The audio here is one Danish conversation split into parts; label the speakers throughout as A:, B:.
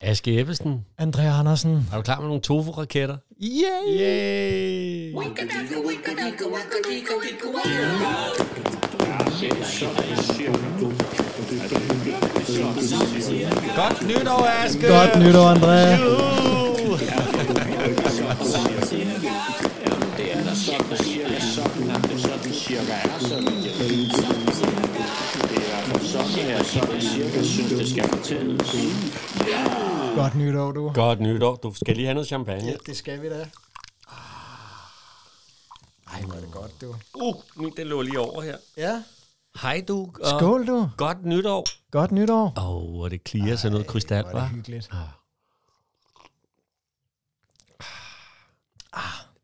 A: Aske Ebbesen,
B: Andrea Andersen.
A: er du klar med nogle tofu-raketter?
B: Yay!
A: Yay! Godt nytår, Aske!
B: Godt nytår, Andrea. Godt nytår, du.
A: Godt nytår. Du skal lige have noget champagne.
B: det skal vi da. Ej, hvor er det godt, du.
A: Uh, min, den lå lige over her.
B: Ja.
A: Hej du. og
B: Skål, du.
A: Godt nytår.
B: Godt nytår.
A: Åh, oh, hvor det klirer sådan noget krystal,
B: Hvor er det
A: hva'?
B: hyggeligt.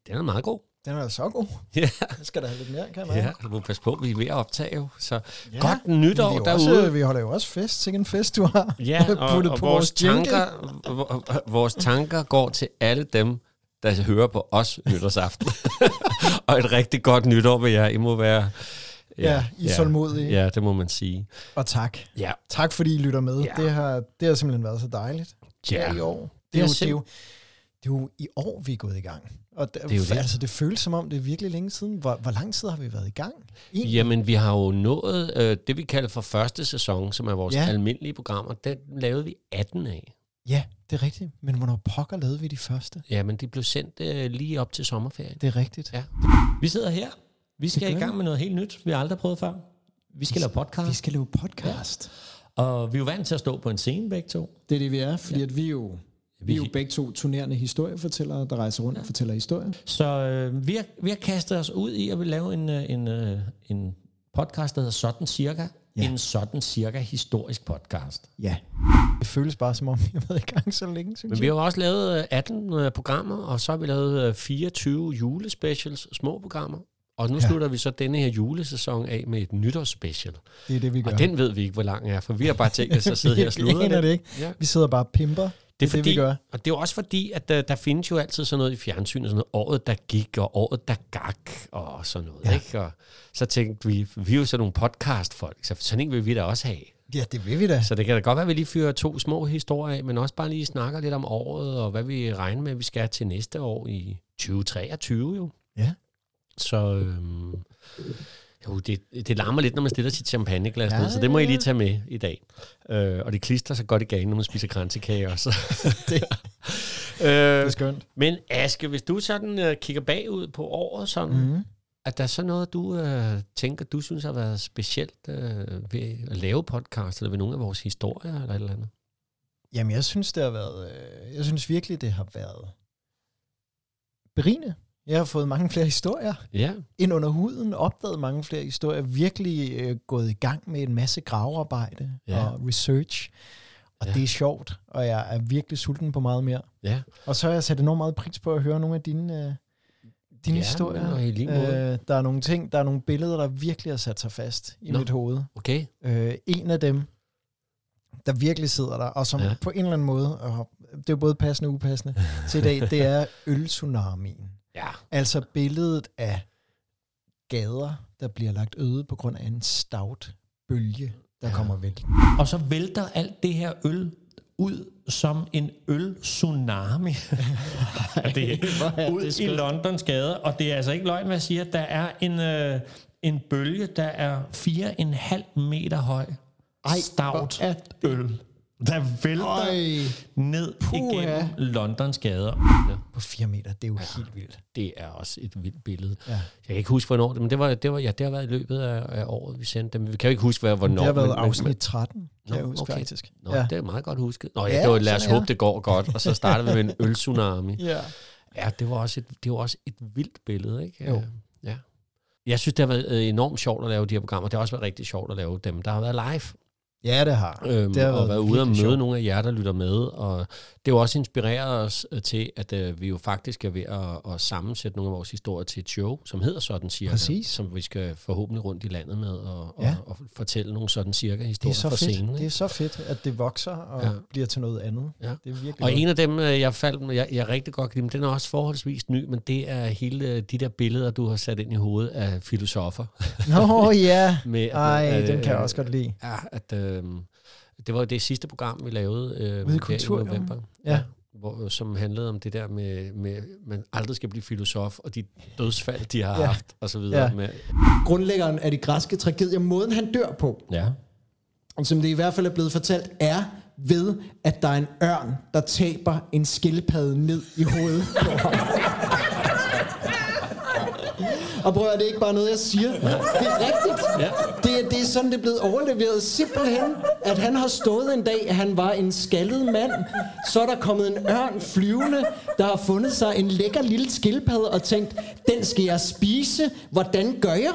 A: Den er meget god.
B: Den er så god.
A: Ja,
B: Den skal der have lidt mere, kan jeg
A: ja.
B: mærke.
A: Du må passe på, vi er ved at optage jo. Så ja, godt nytår
B: vi er jo
A: derude.
B: Også, vi holder jo også fest. Sikke en fest, du har
A: Ja, og,
B: puttet
A: og
B: på
A: vores,
B: jingle.
A: tanker, v- v- vores tanker går til alle dem, der hører på os nytårsaften. og et rigtig godt nytår med jer. I må være...
B: Ja, I er tålmodige.
A: Ja, det må man sige.
B: Og tak.
A: Ja,
B: Tak, fordi I lytter med.
A: Ja.
B: Det, har, det har simpelthen været så dejligt.
A: ja.
B: i år. Det
A: Det
B: er,
A: er
B: jo, det, er jo, det er jo i år, vi er gået i gang. Og der, det
A: er jo det.
B: Altså, det føles som om, det er virkelig længe siden. Hvor, hvor lang tid har vi været i gang? Egentlig?
A: Jamen, vi har jo nået øh, det, vi kalder for første sæson, som er vores
B: Ja.
A: ja. almindelige programmer. Den lavede vi 18 af.
B: Ja, det er rigtigt. Men hvornår pokker lavede vi de første?
A: Ja, men de blev sendt øh, lige op til sommerferien.
B: Det er rigtigt.
A: Ja. Vi sidder her. Vi skal i
B: gør
A: gang med noget helt nyt, vi har aldrig prøvet før. Vi skal lave podcast,
B: Vi skal lave podcast. Ja.
A: og vi er jo vant til at stå på en scene begge to.
B: Det er det, vi er, fordi ja. at vi jo... Vi er jo begge to turnerende historiefortællere, der rejser rundt ja. og fortæller historier.
A: Så øh, vi, har, vi har kastet os ud i at vi lave en, øh, en, øh, en podcast, der hedder Sådan Cirka.
B: Ja.
A: Ja. En sådan cirka historisk podcast.
B: Ja. Det føles bare, som om vi har været i gang så længe, synes
A: Men vi har jo også lavet øh, 18 øh, programmer, og så har vi lavet øh, 24 julespecials, små programmer. Og nu
B: Ja.
A: ja. slutter vi så denne her julesæson af med et nytårsspecial.
B: jeg. Det er det, vi gør.
A: Og den ved vi ikke, hvor lang er, for vi har bare tænkt os at sidde her og
B: jeg
A: sludre
B: aner
A: lidt.
B: det ikke.
A: Ja.
B: Vi sidder bare og pimper.
A: Det er, fordi,
B: det, vi gør.
A: Og det er jo også fordi, at der, der findes jo altid sådan noget i fjernsynet, sådan noget, året der gik, og året der gak, og sådan noget. Ja. Ikke? Og så tænkte vi, vi er jo sådan nogle podcastfolk, så sådan en vil vi da også have.
B: Ja, det vil vi da.
A: Så det kan da godt være, at vi lige fyrer to små historier af, men også bare lige snakker lidt om året, og hvad vi regner med, at vi skal til næste år i 2023 jo.
B: Ja.
A: Så øhm, jo, det, det larmer lidt, når man stiller sit champagneglas
B: Ja,
A: ja, ned, så det må I
B: ja.
A: lige tage med i dag. Øh, og det klister sig godt i ganen, når man spiser kransekage også.
B: Det- Det
A: øh,
B: er skønt.
A: men Aske, hvis du sådan øh, kigger bagud på året sådan, mm.
B: Mm.
A: er der så noget, du øh, tænker, du synes har været specielt øh, ved at lave podcast, eller ved nogle af vores historier, eller et eller andet?
B: Jamen, jeg synes, det har været... Øh, jeg synes virkelig, det har været berigende. Jeg har fået mange flere historier
A: Ja,
B: ind under huden, opdaget mange flere historier, virkelig øh, gået i gang med en masse gravearbejde ja.
A: Ja.
B: og research. Og ja.
A: Ja.
B: det er sjovt, og jeg er virkelig sulten på meget mere.
A: ja.
B: Og så har jeg sat enormt meget pris på at høre nogle af dine, øh, dine
A: Ja,
B: historier.
A: og i lige måde.
B: Øh, der er nogle ting, der er nogle billeder, der virkelig har sat sig fast i
A: Nå.
B: mit hoved.
A: Okay.
B: øh, en af dem, der virkelig sidder der, og som ja.
A: Ja.
B: på en eller anden måde, og det er jo både passende og upassende til i dag, det er øltsunamien.
A: Ja.
B: Altså billedet af gader, der bliver lagt øde på grund af en stout bølge, der ja.
A: Ja.
B: kommer væk.
A: Og så vælter alt det her øl ud som en øl-tsunami. det er ud i Londons gader, og det er altså ikke løgn, hvad jeg siger. Der er en, øh, en bølge, der er 4,5 meter høj. Ej, Stavt
B: hvor er
A: øl, der vælter Øj. ned
B: Puha.
A: igennem Londons gader.
B: På fire meter, det er jo ja. helt vildt.
A: Det er også et vildt billede.
B: Ja.
A: Jeg kan ikke huske, hvornår det, men det var, det var, ja, det har været i løbet af, af året, vi sendte dem. Vi kan jo ikke huske, hvad, hvornår.
B: det har været
A: men- men-
B: afsnit 13, kan
A: Nå,
B: jeg huske
A: okay.
B: faktisk.
A: Nå,
B: ja.
A: ja. det er meget godt husket. Nå ja,
B: Ja,
A: ja det var, lad os
B: sådan er
A: håbe, det går godt. Og så starter vi med en øltsunami.
B: ja.
A: Ja, det var også et, det var også et vildt billede, ikke? Øh,
B: Jo.
A: Ja. Jeg synes, det har været øh, enormt sjovt at lave de her programmer. Det har også været rigtig sjovt at lave dem, der har været live.
B: ja, det har.
A: Øhm,
B: det har
A: og været ude og møde
B: virkelig
A: sjovt.
B: sjovt.
A: nogle af jer, der lytter med. Og det har jo også inspireret os øh, til, at øh, vi jo faktisk er ved at, at sammensætte nogle af vores historier til et show, som hedder Sådan Cirka.
B: Præcis.
A: Som vi skal forhåbentlig rundt i landet med og,
B: Ja.
A: og, og fortælle nogle Sådan
B: Det
A: Cirka-historier
B: er, så
A: fra scenen.
B: fedt.
A: ikke?
B: det er så fedt, at det vokser og ja.
A: Ja.
B: bliver til noget andet.
A: Ja.
B: Det er virkelig
A: Og
B: godt.
A: en af dem, øh, jeg faldt med, jeg, jeg rigtig godt kan lide, men den er også forholdsvis ny, men det er hele øh, de der billeder, du har sat ind i hovedet af filosofer.
B: Nå ja,
A: Med, at-
B: ej,
A: øh,
B: den kan jeg også godt lide.
A: Ja, at øh, Det var det sidste program, vi lavede øh,
B: Ude i
A: her
B: kultur,
A: i
B: jo.
A: november.
B: Ja.
A: Hvor, som handlede om det der med, med, man aldrig skal blive filosof, og de dødsfald, de har
B: Ja.
A: haft, og så videre.
B: Ja.
A: Med,
B: Grundlæggeren af de græske tragedier, måden han dør på,
C: Ja.
B: som det i hvert fald er blevet fortalt, er ved, at der er en ørn, der taber en skildpadde ned i hovedet på ham. Og prøv at høre, det er ikke bare noget, jeg siger. Det er rigtigt.
A: Ja.
B: Det, er- det er sådan, det er blevet overleveret. Simpelthen, at han har stået en dag, at han var en skaldet mand. Så er der kommet en ørn flyvende, der har fundet sig en lækker lille skildpadde og tænkt, den skal jeg spise. Hvordan gør jeg?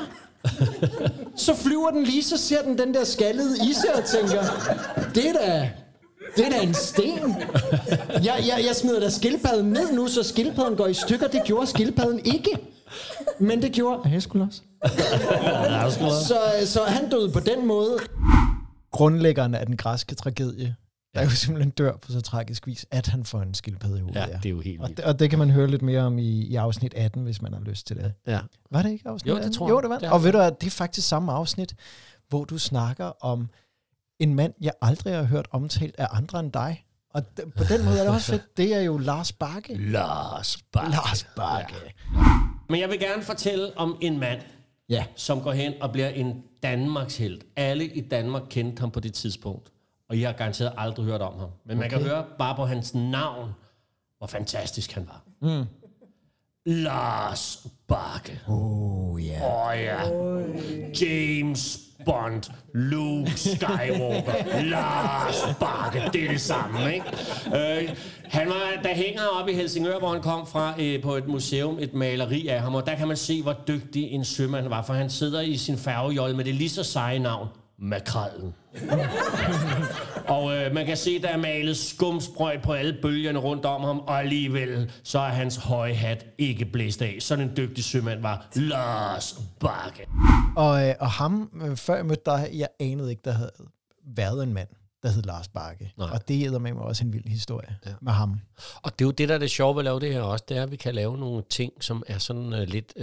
B: Så flyver den lige, så ser den den der skaldede isse og tænker, det er da, det er da en sten. Jeg, jeg, jeg smider da skildpadden ned nu, så skildpadden går i stykker. Det gjorde skildpadden ikke. Men det gjorde Aeschylus. så,
A: øh,
B: så han døde på den måde. Grundlæggeren af den græske tragedie, der jo simpelthen dør på så tragisk vis, at han får en skildpadde i hovedet.
A: ja, det er jo helt
B: og,
A: vildt.
B: det, og det kan man høre lidt mere om i, i afsnit 18, hvis man har lyst til det.
A: Ja.
B: Var det ikke afsnit
A: Jo, det
B: 18?
A: tror jeg.
B: Jo, det var det.
A: Det er
B: Og ved du at det er faktisk samme afsnit, hvor du snakker om en mand, jeg aldrig har hørt omtalt af andre end dig. Og d- på den måde er det også fedt. Det er jo Lars Bakke.
A: Lars Bakke.
B: Lars Bakke.
C: Men jeg vil gerne fortælle om en mand,
B: Ja.
C: som går hen og bliver en Danmarks held. Alle i Danmark kendte ham på det tidspunkt, og jeg har garanteret aldrig hørt om ham. Men okay. man kan høre bare på hans navn, hvor fantastisk han var. Mm. Lars Bakke. Oh ja. Yeah. Oh, ja. James Bond, Luke Skywalker, Lars Bakke, det er det samme, ikke? Øh, han var, der hænger oppe i Helsingør, hvor han kom fra, øh, på et museum, et maleri af ham, og der kan man se, hvor dygtig en sømand han var, for han sidder i sin færgejolle med det lige så seje navn, Makrallen. Og øh, man kan se, der er malet skumsprøjt på alle bølgerne rundt om ham, og alligevel så er hans høje hat ikke blæst af. Sådan en dygtig sømand var Lars Bakke.
B: Og, øh, og ham, øh, før jeg mødte dig, jeg anede ikke, der havde været en mand, der hed Lars Bakke. Nej. Og det æder med mig også en vild historie ja. med ham.
A: Og det er jo det, der er det sjove ved at lave det her også, det er, at vi kan lave nogle ting, som er sådan uh, lidt... Uh,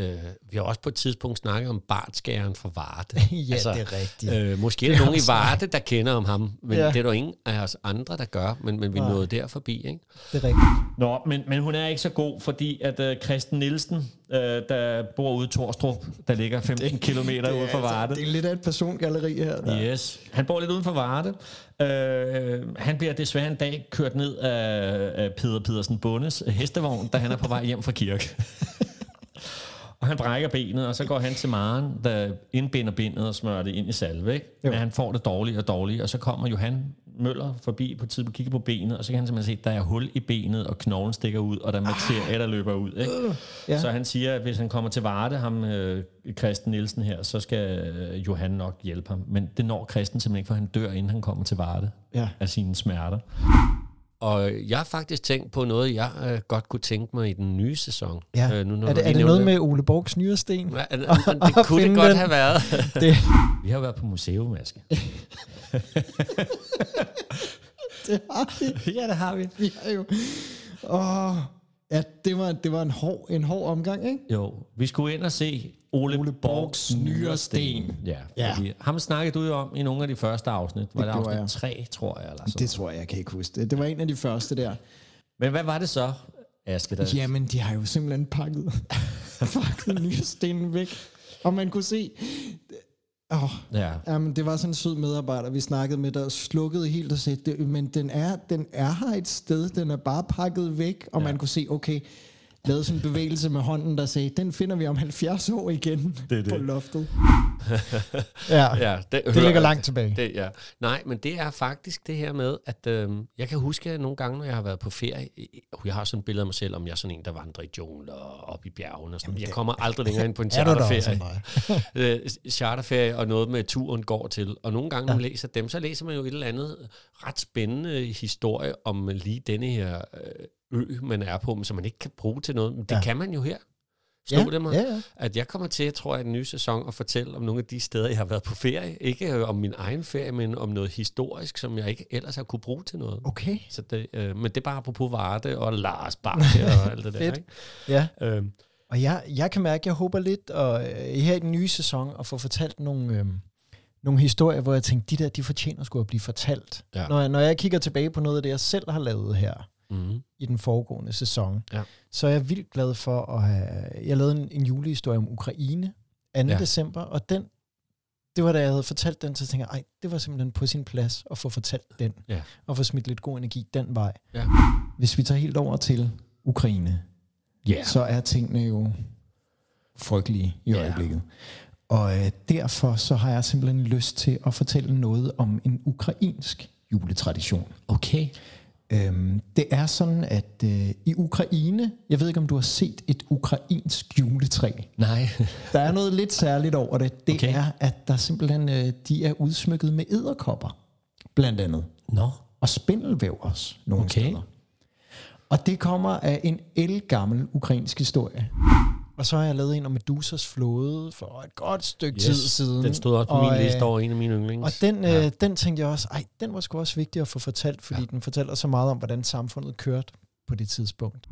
A: vi har også på et tidspunkt snakket om bartskæren fra Varde.
B: Ja, det er rigtigt.
A: Øh, måske er der nogen i
B: også
A: Varde, der kender om ham, men
B: Ja.
A: ja. det er der jo ingen af os andre, der gør, men, men vi nåede der forbi, ikke?
B: Det er rigtigt.
C: Nå, men, men hun er ikke så god, fordi at øh, Christen Nielsen, øh, der bor ude i Torstrup, der ligger 15 km ude for Varde.
B: Det er altså lidt af et persongalleri her. Der.
C: Yes. Han bor lidt uden for Varde. Øh, han bliver desværre en dag kørt ned af, af Peder Pedersen Bundes hestevogn, da han er på vej hjem fra kirke. og han brækker benet, og så går han til Maren, der indbinder benet og smører det ind i salve. Ikke? Men han får det dårligere og dårligere, og så kommer Johan Møller forbi på tid, kigger på benet, og så kan han simpelthen se, at der er hul i benet, og knoglen stikker ud, og der er materiale, der løber ud. Ikke?
B: Ja.
C: Ja. Så han siger, at hvis han kommer til Varde, ham øh, Christen Nielsen her, så skal øh, Johan nok hjælpe ham. Men det når Christen simpelthen ikke, for han dør, inden han kommer til Varde
B: Ja.
C: af sine smerter.
A: Og jeg har faktisk tænkt på noget, jeg øh, godt kunne tænke mig i den nye sæson.
B: Ja.
A: Øh, nu, når
B: er
A: du
B: det,
A: lige
B: er det
A: nævner
B: noget med Ole Borgs nyresten?
A: Ja, øh, øh, det kunne
B: Finde
A: det godt
B: den.
A: have været.
B: Det,
C: Vi har jo været på museum, Aske.
B: det har vi.
C: ja, det har vi.
B: vi har jo. Åh, ja, det var, det var en, hård, en hård omgang, ikke?
C: Jo, vi skulle ind og se Ole, Ole Borgs nyresten. Ja,
B: Ja.
C: ja. Fordi, ham snakkede du jo om i nogle af de første afsnit. Var det,
B: gjorde
C: afsnit
B: jeg.
C: 3, tror jeg? Eller sådan.
B: Det
C: Det...
B: tror jeg, jeg kan ikke huske. Det, det var en af de første der.
C: Men hvad var det så, Aske? Der...
B: Jamen, de har jo simpelthen pakket, pakket nyrestenen væk. Og man kunne se... Åh,
C: Ja.
B: Jamen, det var sådan en sød medarbejder, vi snakkede med, der slukkede helt og sagde, "Det- men den er, den er her et sted, den er bare pakket væk, og ja. man kunne se, okay, lavede sådan en bevægelse med hånden, der sagde, den finder vi om 70 år igen det det. på loftet. ja,
A: Ja, det,
B: det ligger langt tilbage.
A: Det, ja. Nej, men det er faktisk det her med, at øh, jeg kan huske at nogle gange, når jeg har været på ferie, øh, jeg har sådan et billede af mig selv, om jeg er sådan en, der vandrer i jungler og op i bjergene. Og sådan. Jamen, jeg kommer aldrig længere ind på en
B: er du da også
A: charterferie. øh, charterferie og noget med turen går til. Og nogle gange, når man læser dem, så læser man jo et eller andet ret spændende historie om lige denne her øh, ø, man er på, men som man ikke kan bruge til noget. Men det
B: Ja.
A: ja. kan man jo her. Slå
B: Ja,
A: det mig
B: ja, ja.
A: at jeg kommer til, tror jeg, den nye sæson at fortælle om nogle af de steder, jeg har været på ferie. Ikke øh, om min egen ferie, men om noget historisk, som jeg ikke ellers har kunne bruge til noget.
B: Okay.
A: Så det, øh, men det er bare apropos Varde og Lars Bakke og alt det der.
B: Fedt.
A: Ikke?
B: Ja,
A: Øh,
B: og jeg, jeg kan mærke, at jeg håber lidt og, øh, her i den nye sæson at få fortalt nogle, øh, nogle historier, hvor jeg tænkte, de der, de fortjener skulle at blive fortalt.
A: Ja.
B: Ja. Når, jeg, når jeg kigger tilbage på noget af det, jeg selv har lavet her
A: Mm.
B: i den foregående sæson,
A: Ja.
B: så er jeg vildt glad for at have... Jeg lavede en, en julehistorie om Ukraine 2.
A: Ja.
B: Ja. december, og den, det var da jeg havde fortalt den, så tænkte jeg, ej, det var simpelthen på sin plads at få fortalt den,
A: Ja.
B: og få smidt lidt god energi den vej.
A: Ja.
B: Hvis vi tager helt over til Ukraine,
A: Ja.
B: så er tingene jo frygtelige i
A: Ja.
B: øjeblikket. Og øh, derfor så har jeg simpelthen lyst til at fortælle noget om en ukrainsk juletradition.
C: Okay.
B: Øhm, det er sådan, at øh, i Ukraine, jeg ved ikke om du har set et ukrainsk juletræ.
C: Nej.
B: Der er noget lidt særligt over det. Det
C: Okay.
B: okay. er, at der simpelthen øh, de er udsmykket med edderkopper, blandt andet.
C: Nå.
B: Og spindelvæv også, nogle
C: Okay.
B: okay. steder. Og det kommer af en elgammel ukrainsk historie. Og så har jeg lavet en om Medusas flåde for et godt stykke yes, tid siden.
A: Den stod også på
B: Og,
A: min liste
B: øh,
A: over en af mine yndlings.
B: Og den, øh, den tænkte jeg også, ej, den var sgu også vigtig at få fortalt, fordi ja. den fortæller så meget om, hvordan samfundet kørte på det tidspunkt.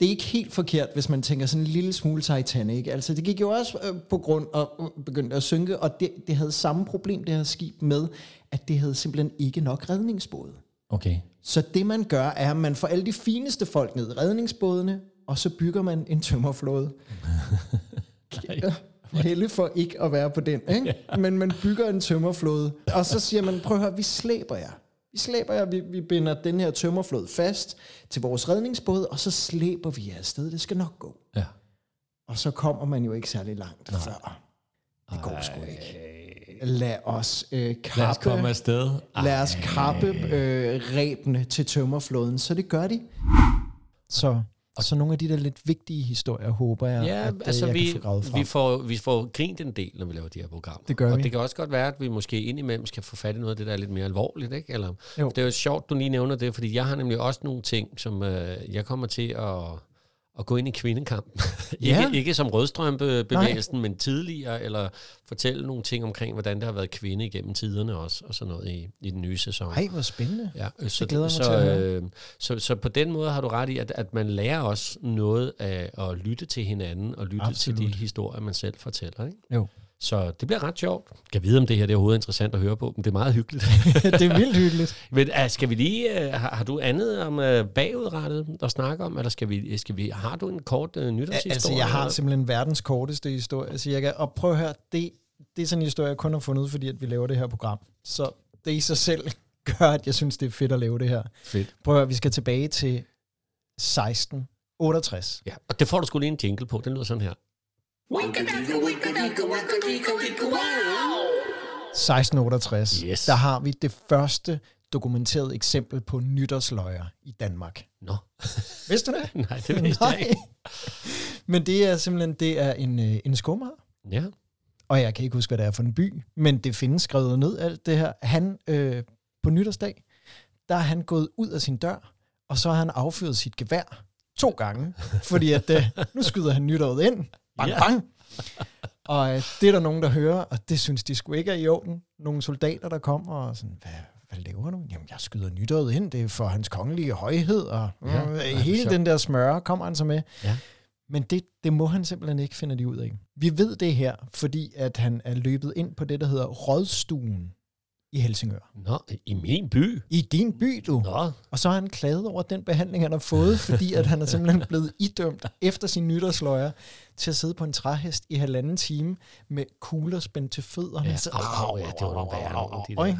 B: Det er ikke helt forkert, hvis man tænker sådan en lille smule Titanic. Altså, det gik jo også øh, på grund og øh, begyndte at synke, og det, det havde samme problem, det her skib, med, at det havde simpelthen ikke nok redningsbåde.
C: Okay.
B: Så det man gør, er, at man får alle de fineste folk ned i redningsbådene, og så bygger man en tømmerflåde. Helle for ikke at være på den, ikke? men man bygger en tømmerflåde, og så siger man, prøv at høre, vi slæber jer. Vi slæber jer, vi, vi binder den her tømmerflåde fast til vores redningsbåd, og så slæber vi jer afsted, det skal nok gå.
C: Ja.
B: Og så kommer man jo ikke særlig langt Nej. før. Det går sgu ikke. Lad os øh, kappe
C: Lad os komme afsted. Ej.
B: Lad os kappe øh, ræbene til tømmerflåden, så det gør de. Så, og så nogle af de der lidt vigtige historier, håber jeg,
A: Ja,
B: at
A: at,
B: øh,
A: altså
B: jeg
A: vi,
B: kan få gravet frem.
A: vi, får, vi får grint en del, når vi laver de her programmer.
B: Det gør
A: og
B: vi.
A: det kan også godt være, at vi måske indimellem skal få fat i noget af det, der er lidt mere alvorligt. Ikke? Eller,
B: Jo.
A: det er jo sjovt, du lige nævner det, fordi jeg har nemlig også nogle ting, som øh, jeg kommer til at, at gå ind i kvindekampen.
B: Ja.
A: ikke, ikke som rødstrømpebevægelsen, men tidligere, eller fortælle nogle ting omkring, hvordan der har været kvinde igennem tiderne også, og sådan noget i, i den nye sæson.
B: Ej, hvor spændende.
A: Ja, øh, så,
B: glæder jeg
A: så,
B: mig til at
A: øh, så, så på den måde har du ret i, at, at man lærer også noget af at lytte til hinanden, og lytte Absolut. til de historier, man selv fortæller. Ikke?
B: Jo.
A: Så det bliver ret sjovt. Jeg vide, om det her det er overhovedet interessant at høre på, men det er meget hyggeligt.
B: det er vildt hyggeligt.
A: men uh, skal vi lige, uh, har, har du andet om uh, bagudrettet at snakke om, eller skal vi, øh, skal vi har du en kort uh, nytårshistorie?
B: Altså, jeg har simpelthen verdens korteste historie, cirka. Og prøv at høre, det, det er sådan en historie, jeg kun har fundet, fordi at vi laver det her program. Så det i sig selv gør, at jeg synes, det er fedt at lave det her.
A: Fedt.
B: Prøv at høre, vi skal tilbage til 16. 68.
A: Ja, og det får du sgu lige en jingle på, den lyder sådan her.
B: 1668,
A: Yes.
B: der har vi det første dokumenterede eksempel på nytårsløjer i Danmark.
A: Nå,
B: Vidste du det?
A: nej, det vidste jeg ikke.
B: Men det er simpelthen det er en, øh, en skummer,
A: Ja,
B: og jeg kan ikke huske, hvad det er for en by, men det findes skrevet ned, alt det her. Han, øh, på nytårsdag, der er han gået ud af sin dør, og så har han affyret sit gevær to gange, fordi at øh, nu skyder han nytåret ind. Bang,
A: Ja.
B: bang! Og øh, det er der nogen, der hører, og det synes de sgu ikke er i orden. Nogle soldater, der kommer og sådan, hvad, hvad laver du? Jamen, jeg skyder nytåret ind, det er for hans kongelige højhed, og
A: Ja,
B: ja, øh,
A: ej, hvor
B: hele
A: sjovt.
B: den der smøre kommer han så med.
A: Ja.
B: Men det, det må han simpelthen ikke, finder de ud af. Vi ved det her, fordi at han er løbet ind på det, der hedder Rådstuen i Helsingør.
A: nå, i min by.
B: I din by, du.
A: Nå,
B: Og så har han klaget over den behandling, han har fået, fordi at han er simpelthen blevet idømt efter sin nytårsløjer til at sidde på en træhest i halvanden time med kugler spændt til fødderne.
A: Ja,
B: Så-
A: au, au, ja, det var nogle værre nogle, de der.
B: Øj.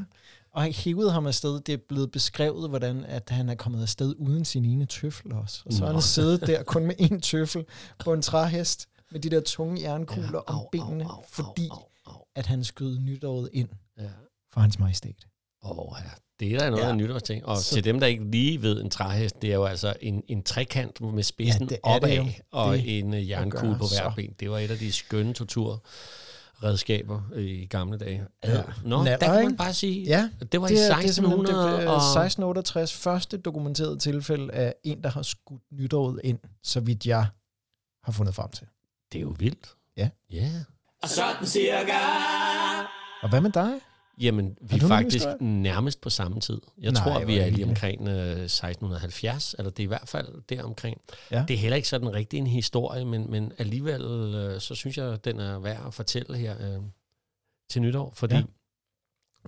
B: Og han hævede ham afsted. Det er blevet beskrevet, hvordan at han er kommet afsted uden sin ene tøffel også. Og så har
A: Nå.
B: han siddet der kun med en tøffel på en træhest med de der tunge jernkugler
A: Ja,
B: ja,
A: au,
B: om
A: au,
B: benene,
A: au, au,
B: fordi
A: au, au.
B: at han skød nytåret ind
A: ja.
B: for hans majestæt.
A: Åh, ja. Det er da noget ja.
B: Ja.
A: af en nytårsting. Og så.
B: Så-
A: til dem, der ikke lige ved en træhest, det er jo altså en, en trekant med spidsen
B: det
A: ja,
B: er det
A: opad
B: jo.
A: og
B: Det
A: en øh, jernkugle
B: gøre,
A: på hver
B: så.
A: ben. Det var et af de skønne torturredskaber øh, i gamle dage. Ja. Nå,
B: Natter,
A: der kan man
B: ikke?
A: bare sige,
B: Ja,
A: det var i
B: Det er, det er simpelthen det,
A: 1600
B: øh,
A: og...
B: 1668 første dokumenterede tilfælde af en, der har skudt nytåret ind, så vidt jeg har fundet frem til.
A: Det er jo vildt.
B: Ja.
A: Ja.
B: Og hvad med dig?
A: Jamen, vi
B: du
A: er
B: nogen
A: faktisk
B: historie?
A: nærmest på samme tid. Jeg
B: Nej,
A: Nej, tror,
B: hvor
A: vi
B: er
A: er
B: det
A: lige
B: hyggeligt.
A: omkring øh, 1670, eller det er i hvert fald deromkring.
B: Ja.
A: Det er heller ikke sådan rigtig en historie, men, men alligevel, øh, så synes jeg, den er værd at fortælle her øh, til nytår, fordi
B: Ja.
A: ja.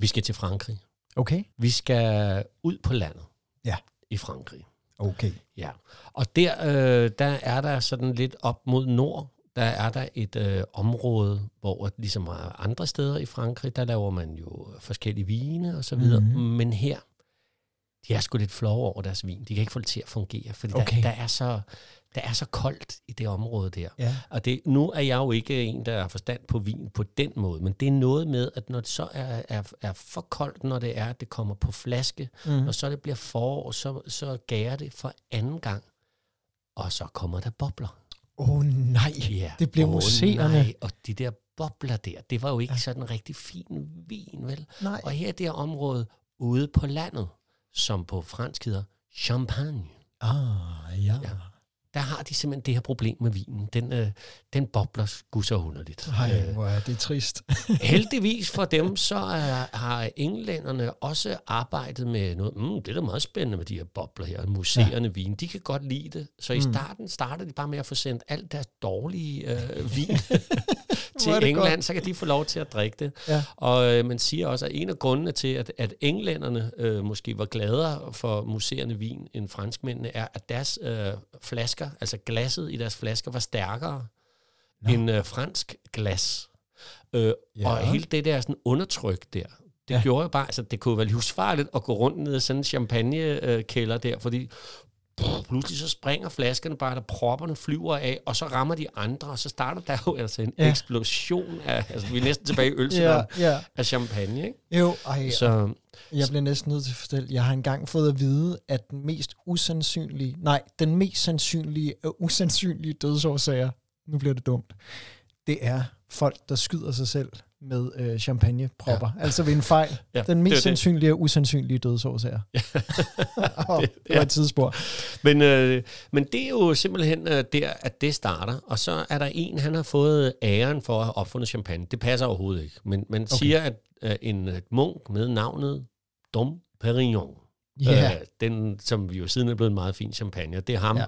A: Vi skal til Frankrig.
D: Okay.
A: Vi skal ud på landet
D: Ja.
A: i Frankrig.
D: Okay.
A: Ja, og der, øh, der er der sådan lidt op mod nord, der er der et øh, område, hvor at ligesom andre steder i Frankrig, der laver man jo forskellige vine og så videre,
D: Mhm.
A: mm-hmm. men her, de er sgu lidt flove over deres vin. De kan ikke få det til at fungere, fordi
D: Okay.
A: okay. der, der, er så, der er så koldt i det område der.
D: Ja.
A: Og det, nu er jeg jo ikke en, der har forstand på vin på den måde, men det er noget med, at når det så er, er, er for koldt, når det er, at det kommer på flaske, mm.
D: Mhm.
A: når så det bliver forår, så, så gærer det for anden gang, og så kommer der bobler.
D: Åh oh, nej.
A: Ja.
D: Det blev
A: Åh,
D: museerne.
A: nej, Og de der bobler der, det var jo ikke ja. sådan en rigtig fin vin, vel?
D: Nej.
A: Og her er det her område ude på landet, som på fransk hedder champagne.
D: Ah, ja.
A: Ja. Der har de simpelthen det her problem med vinen. Den, øh, den bobler sgu så underligt. Øh,
D: Ej, hvor er det trist.
A: Heldigvis for dem, så er, har englænderne også arbejdet med noget, mm, det er da meget spændende med de her bobler her, museerne ja. vin, de kan godt lide det. Så mm. i starten starter de bare med at få sendt alt deres dårlige øh, vin til
D: Hvor er det
A: England, så kan de få lov til at drikke det.
D: Ja.
A: Og øh, man siger også, at en af grundene til, at, at englænderne øh, måske var gladere for museerne vin end franskmændene, er, at deres øh, flasker, altså glasset i deres flasker, var stærkere Nå. end øh, fransk glas. Øh,
D: Ja.
A: ja. Og hele det der sådan undertryk der, det
D: Ja.
A: ja. gjorde jo bare, altså det kunne være livsfarligt at gå rundt ned i sådan en champagnekælder der, fordi pff, pludselig så springer flaskerne bare, der propperne flyver af, og så rammer de andre, og så starter der jo altså en
D: Ja.
A: ja. eksplosion af, altså vi er næsten tilbage i
D: ja,
A: ølsevand, ja.
D: ja.
A: af champagne, ikke?
D: Jo, ej,
A: Ja. Så
D: jeg bliver næsten nødt til at fortælle. Jeg har engang fået at vide, at den mest usandsynlige, nej, den mest sandsynlige og usandsynlige dødsårsager, nu bliver det dumt, det er folk, der skyder sig selv med øh, champagnepropper. Ja. Altså ved en fejl.
A: Ja,
D: Ja, den
A: det er
D: mest
A: det.
D: sandsynlige og usandsynlige dødsårsager. Ja. det, det var
A: ja.
D: et tidsspor.
A: Men, øh, men det er jo simpelthen øh, der, at det starter. Og så er der en, han har fået æren for at have opfundet champagne. Det passer overhovedet ikke. Men man okay. siger, at øh, en øh, munk med navnet Dom Perignon,
D: Ja.
A: øh, den, som vi jo siden er blevet en meget fin champagne, det er ham,
D: Ja.
A: ja.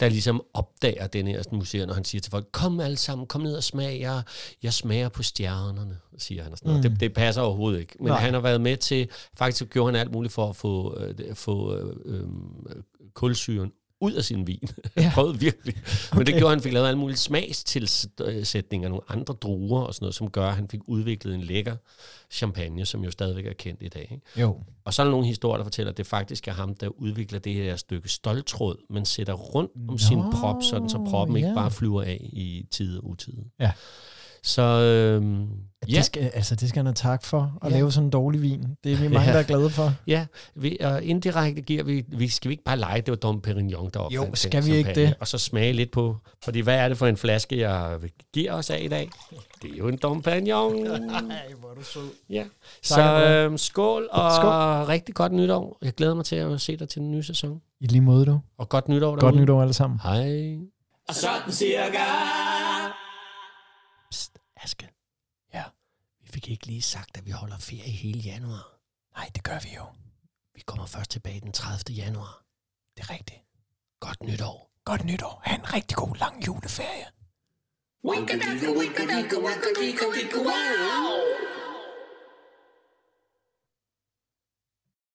A: der ligesom opdager den her sådan, museer, når han siger til folk, kom alle sammen, kom ned og smag, jeg, jeg smager på stjernerne, siger han. Og sådan noget.
D: Mm.
A: Det, det passer overhovedet ikke. Men
D: Nej.
A: Nej. han har været med til, faktisk gjorde han alt muligt for at få, øh, få øh, øh, kulsyren ud af sin vin.
D: Ja.
A: Ja. Prøvede virkelig. Okay. Men det gjorde, at han fik lavet alle mulige smagstilsætninger, nogle andre druer og sådan noget, som gør, at han fik udviklet en lækker champagne, som jo stadigvæk er kendt i dag. Ikke?
D: Jo.
A: Og så er der nogle historier, der fortæller, at det faktisk er ham, der udvikler det her stykke stoltråd, man sætter rundt om
D: Nå,
A: sin prop, sådan så proppen
D: ja.
A: ikke bare flyver af i tide og utide.
D: Ja.
A: Så øhm,
D: Ja.
A: ja,
D: Det, skal, altså, det skal han have tak for, at ja.
A: Ja.
D: lave sådan en dårlig vin. Det er vi mange,
A: Ja.
D: der er glade for.
A: ja vi, og indirekte giver vi, vi, skal vi ikke bare lege, det var Dom Perignon, der opfandt den
D: skal vi ikke
A: champagne,
D: det?
A: Og så smage lidt på, fordi hvad er det for en flaske, jeg giver os af i dag? Det er jo en Dom Perignon.
D: Ej, hvor er du sød.
A: Ja.
D: Tak,
A: Så
D: Andrea.
A: øhm, skål, og
D: Skål.
A: skål. rigtig godt nytår. Jeg glæder mig til at se dig til den nye sæson.
D: I lige måde, du.
A: Og godt nytår
D: Godt
A: derude.
D: nytår alle sammen.
A: Hej.
C: Og sådan cirka.
A: Psst, Aske. Ja. Vi fik ikke lige sagt, at vi holder ferie hele januar. Nej, det gør vi jo. Vi kommer først tilbage den 30. januar. Det er rigtigt. Godt nytår. Godt nytår. Ha' en rigtig god lang juleferie.
E: Winka-dinka, winka-dinka, winka-dinka, winka-wow!